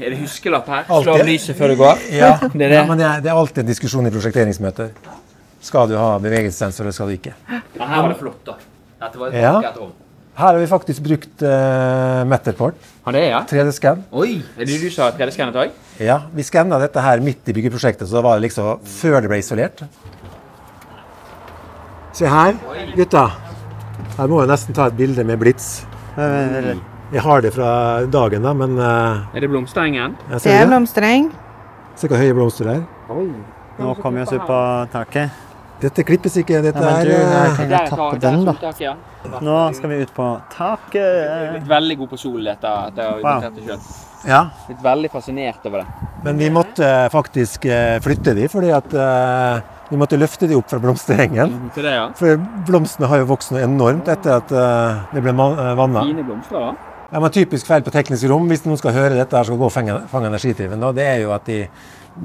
F: Er det huskelapp her?
A: Alltid.
F: Slå av lyset før du går?
A: Ja,
F: Det er det.
A: ja men det er, det er alltid en diskusjon i prosjekteringsmøter. Skal du ha bevegelsessensor, eller skal du ikke?
F: Men her var det flott, da. Dette var et
A: Ja.
F: vakkert rom.
A: Her har vi faktisk brukt uh, Matterport,
F: Har det, ja?
A: 3D-scan.
F: Oi! Er det du som har 3D-skannet òg?
A: Ja, Vi skanna dette her midt i byggeprosjektet, så da var det liksom før det ble isolert. Se her, gutta. Her må jeg nesten ta et bilde med blits. Jeg har det fra dagen, da, men eh,
F: Er det blomsterengen?
A: jeg
E: Det er
A: ser det.
E: blomstereng.
A: Se hvor høye blomster det er.
B: Nå kom jeg oss opp på taket.
A: Dette klippes ikke.
B: Ja,
A: Dette
B: men du, jeg
A: er eh,
B: kan jo tappe den, da. Nå skal vi ut på taket.
F: Veldig god på solen etter at jeg
B: Wow.
F: har invitert sjøl.
A: Ja.
F: Blitt veldig fascinert over det.
A: Men vi måtte eh, faktisk eh, flytte de, fordi at eh, vi måtte løfte de opp fra blomsterengen.
F: Til det, ja.
A: For blomstene har jo vokst noe enormt etter at eh, det ble vanna.
F: Fine blomster, da.
A: Ja, men typisk feil på teknisk rom, hvis noen skal høre dette her, skal gå og fange, fange energitriven, da, det er jo at de,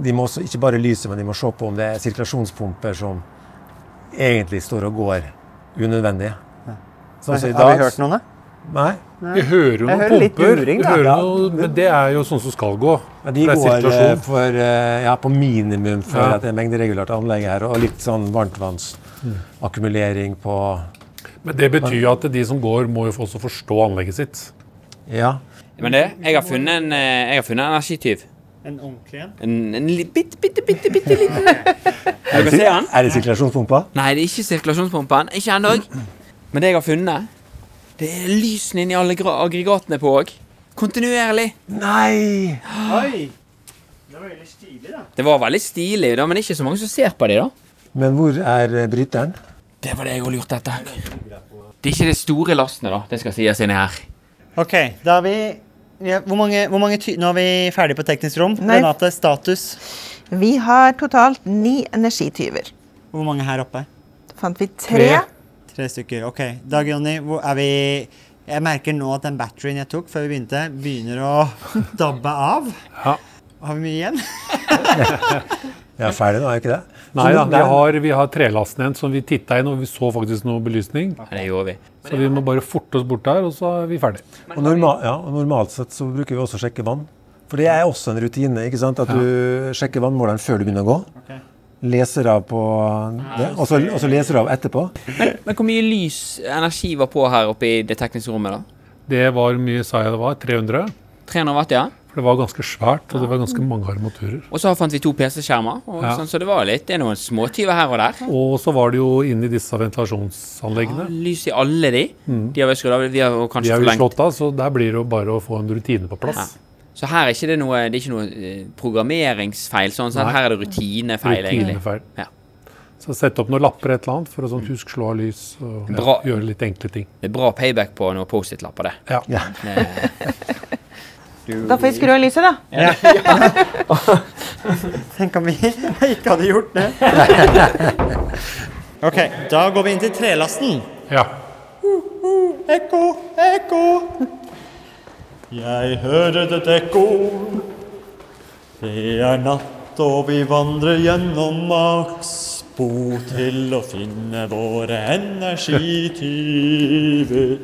A: de må også, ikke bare lyset, men de må se på om det er sirkulasjonspumper som egentlig står og går unødvendige. Sånn som
B: Har
A: i
B: vi
A: dag.
B: hørt noen, da?
A: Nei,
C: Vi hører
B: Jeg
C: jo noen
B: hører litt
C: pumper,
B: luring,
C: vi
B: da.
C: hører
A: Ja.
C: noe, men det er jo sånn som skal gå.
A: men de
C: For det er
A: går eh,
C: sirkulasjon.
A: for, eh, ja, på minimum for
C: Ja.
A: at det er mengderegulert anlegg her, og litt sånn varmtvannsakkumulering på
C: Men det betyr jo at de som går, må jo også forstå anlegget sitt.
A: Ja.
F: Men det, jeg har funnet en, eh, jeg har funnet en energityv.
B: En ordentlig en?
F: En, en li- bitte, bitte, bitte, bitte liten Kan dere se den?
A: Er det sirkulasjonspumpa?
F: (laughs) Nei, det er ikke sirkulasjonspumpen. Ikke ennå. Men det jeg har funnet, det er lysene inni alle gra- aggregatene på òg. Kontinuerlig.
A: Nei!
B: Oi! Det var veldig stilig, da.
F: Det var veldig stilig, da, men ikke så mange som ser på det, da.
A: Men hvor er eh, bryteren?
F: Det var det jeg har lurt etter. Det er ikke de store lastene, da. Det skal sies inni her.
B: Ok, da har vi ja, hvor mange, hvor mange ty Nå er vi ferdig på teknisk rom.
E: Nei.
B: Renate, status.
E: Vi har totalt ni energityver.
B: Hvor mange her oppe?
E: Da fant vi tre.
B: Tre stykker. Ok. Dag Jonny, hvor er vi Jeg merker nå at den batterien jeg tok før vi begynte, begynner å (laughs) dabbe av.
C: Ja.
B: Har vi mye igjen?
A: Jeg er ferdig nå, er jeg ikke det?
C: Nei
A: Så
C: da,
A: det-
C: vi har, vi har trelasten igjen som vi titta inn, og vi så faktisk noe belysning.
F: Ja, det gjorde vi.
C: Så vi må bare forte oss bort der, og så er vi ferdig.
A: Og, norma ja, og normalt sett så bruker vi også å sjekke vann. For det er også en rutine, ikke sant? At du sjekker vannmåleren før du begynner å gå. Leser av på det, og så, og så leser du av etterpå.
F: Men hvor mye lys, energi, var på her oppe i det tekniske rommet, da?
C: Det var hvor mye, sa jeg det var? 300?
F: 300 watt, ja.
C: For det var ganske svært, og det var ganske mange armaturer.
F: Og så fant vi to PC-skjermer, og
C: Ja.
F: sånn, så det var litt Det er noen småtyver her og der.
C: Og så var det jo inne i disse ventilasjonsanleggene.
F: Lys i alle de. De har vi skrudd av, vi har
C: Mm. De
F: kanskje
C: er jo
F: forlengt.
C: slått av, så der blir det jo bare å få en rutine på plass.
F: Så her er ikke det noe, det er ikke noe eh, programmeringsfeil, sånn, sånn.
C: Nei.
F: her er det rutinefeil, egentlig.
C: Rutinefeil.
F: Ja.
C: Så sette opp noen lapper et eller annet for å sånn husk slå av lys og ja,
F: Bra.
C: gjøre litt enkle ting.
F: Det er bra payback på noen Post-It-lapper, det.
C: Ja.
E: Da får vi skru av lyset, da.
B: Tenk om vi (laughs) ikke hadde gjort det. Ok, da går vi inn til trelasten.
C: ja.
B: Ekko, ekko. Jeg hører et ekko. Det er natt, og vi vandrer gjennom Maxbo til å finne våre energityver.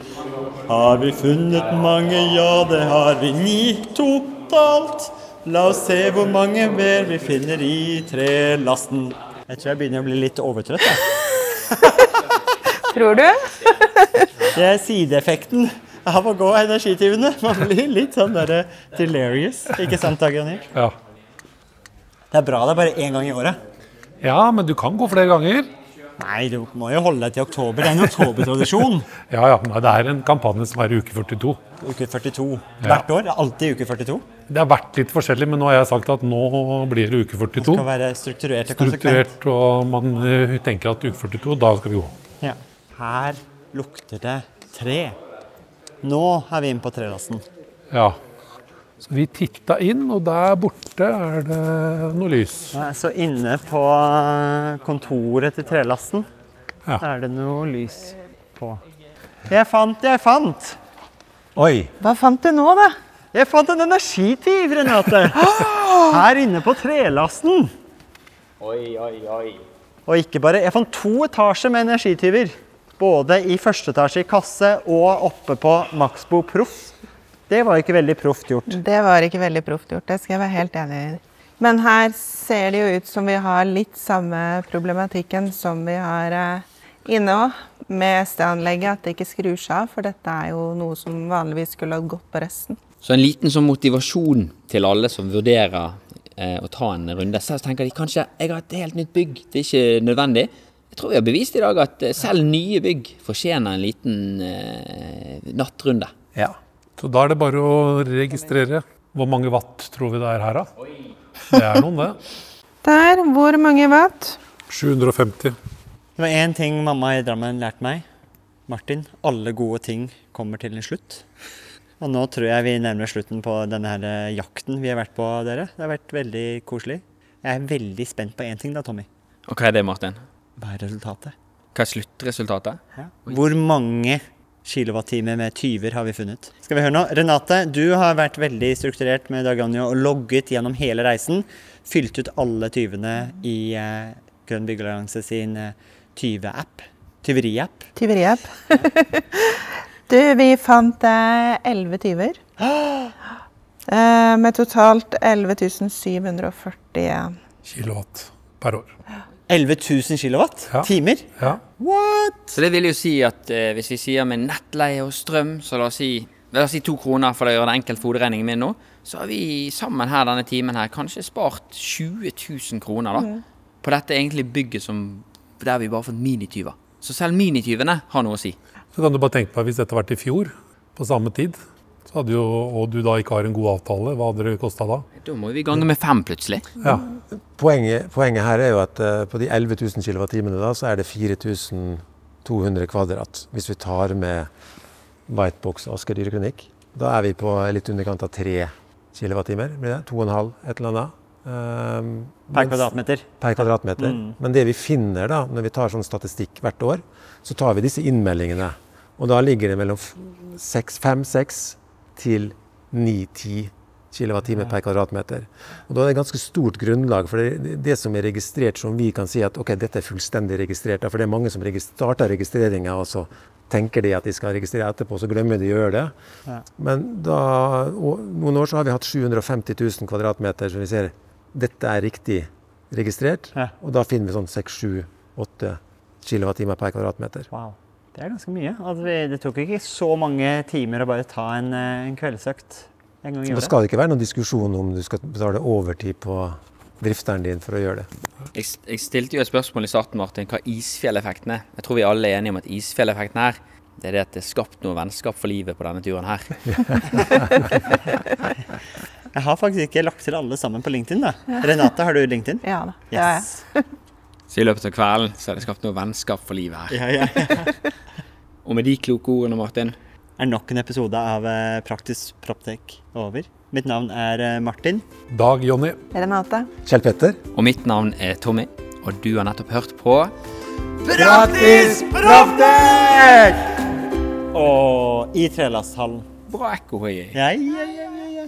B: Har vi funnet mange? Ja, det har vi. Ni totalt. La oss se hvor mange mer vi finner i trelasten. Jeg tror jeg begynner å bli litt overtrøtt. Jeg.
E: Tror du?
B: Det er sideeffekten av å gå energityvene. Man blir litt sånn derre delirious. Ikke sant, Dag Jonny?
C: Ja.
B: Det er bra det er bare én gang i året.
C: ja, men du kan gå flere ganger.
B: Nei, du må jo holde deg til oktober. Det er en oktobertradisjon.
C: Ja, ja. Nei, det er en kampanje som er i uke 42.
B: Uke 42. Hvert år. Det er alltid uke 42.
C: Det har vært litt forskjellig, men nå har jeg sagt at nå blir det uke
B: Det skal
C: 42.
B: være strukturert og konsekvent.
C: Strukturert, og man eh, tenker at uke 42, da skal vi gå.
B: Ja. Her lukter det tre. Nå er vi inne på trelasten.
C: Ja. Så vi titta inn, og der borte er det noe lys.
B: Ja, Så inne på eh, kontoret til trelasten
C: Ja.
B: er det noe lys på. Jeg fant, jeg fant!
A: Oi!
E: Hva fant du nå, da?
B: Jeg fant en energityv, (gasps) Renate! Her inne på trelasten. Oi, oi, oi. Og ikke bare Jeg fant to etasjer med energityver. Både i første etasje i kasse og oppe på Maxbo Proff. Det var ikke veldig proft gjort.
E: Det var ikke veldig proft gjort, det skal jeg være helt enig i. Men her ser det jo ut som vi har litt samme problematikken som vi har eh, inne òg, med steanlegget, at det ikke skrur seg av. For dette er jo noe som vanligvis skulle ha gått på resten.
F: Så en liten sånn motivasjon til alle som vurderer eh, å ta en runde. Så tenker de kanskje jeg har et helt nytt bygg, det er ikke nødvendig. Jeg tror vi har bevist i dag at eh, selv nye bygg fortjener en liten eh, nattrunde.
A: Ja.
C: Så da er det bare å registrere. Hvor mange watt tror vi det er her, da? Det er noen, det.
E: Der, hvor mange watt?
C: 750.
B: Det var én ting mamma i Drammen lærte meg. Martin, alle gode ting kommer til en slutt. Og nå tror jeg vi nærmer slutten på denne her eh, jakten vi har vært på, dere. Det har vært veldig koselig. Jeg er veldig spent på én ting da, Tommy.
F: Og hva er det, Martin?
B: Hva er resultatet?
F: Hva er sluttresultatet?
B: Hvor mange kilowattimer med tyver har vi funnet? Skal vi høre nå? Renate, du har vært veldig strukturert med Dag Anjo og logget gjennom hele reisen. Fylt ut alle tyvene i eh, Grønn byggeallianse sin eh, tyveapp. Tyveriapp.
E: Tyveriapp. (laughs) du, vi fant elleve tyver. Eh, Med totalt 11 741.
C: Kilowatt per år.
B: 11 000 kilowatt?
C: Ja.
B: Timer?
C: Ja.
B: What?
F: Så det vil jo si at eh, hvis vi sier med nettleie og strøm, så la oss si La oss si to kroner for å gjøre det enkelt for hoderegningen min nå. Så har vi sammen her denne timen her kanskje spart 20 000 kroner da, på dette egentlig bygget som, der vi bare har fått minityver. Så selv minityvene har noe å si.
C: Så kan du bare tenke deg hvis dette hadde vært i fjor, på samme tid, så hadde jo, og du da ikke har en god avtale, hva hadde det kosta da?
F: Da må vi gange med fem plutselig.
C: Ja.
A: Poenget, poenget her er jo at eh, på de 11 000 kilowattimene da, så er det 4200 kvadrat. Hvis vi tar med Whitebox Asker dyreklinikk. Da er vi på litt underkant av 3 kilowattimer. blir det? 2,5 et eller annet. Ehm,
B: Per
A: mens-
B: kvadratmeter.
A: per kvadratmeter. Men det vi finner da, når vi tar sånn statistikk hvert år, så tar vi disse innmeldingene. Og da ligger det mellom 5-6 til 9-10 kWh per kvadratmeter. Og da er det et ganske stort grunnlag, for det, det som er registrert som vi kan si at ok, dette er fullstendig registrert, da, for det er mange som regis- starter registreringa, og så tenker de at de skal registrere etterpå, så glemmer de å gjøre det. Men da, og, noen år så har vi hatt 750 000 kvadratmeter, så vi ser dette er riktig registrert.
B: Ja.
A: Og da finner vi sånn 6-7-8 kWh per kvadratmeter.
B: Wow. Det er ganske mye. Altså, vi- det tok ikke så mange timer å bare ta en, eh, en kveldsøkt. En gang
A: Så
B: i
A: da
B: året.
A: skal det ikke være noen diskusjon om du skal betale overtid på drifteren din for å gjøre det.
F: Jeg, jeg stilte jo et spørsmål i starten, Martin, hva isfjelleffekten er. Jeg tror vi alle er enige om at isfjelleffekten her, det er det at det er skapt noe vennskap for livet på denne turen her.
B: Jeg har faktisk ikke lagt til alle sammen på LinkedIn. da. Renate, har du LinkedIn?
E: Ja da. det har jeg.
B: Yes.
F: Så i løpet av kvelden så er det skapt noe vennskap for livet her.
B: Ja, ja, ja.
F: Og med de kloke ordene, Martin,
B: Er nok en episode av eh, Praktisk Proptek over. Mitt navn er eh, Martin.
C: Dag Jonny.
E: Renate?
A: Kjell Petter?
F: og mitt navn er Tommy, og du har nettopp hørt på
B: Praktisk Proptek! Og i trelasthallen.
F: Bra ekko, høyei.
B: Ja, ja, ja, ja, ja.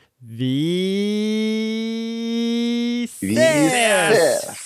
B: Vi ses!
G: Vi ses!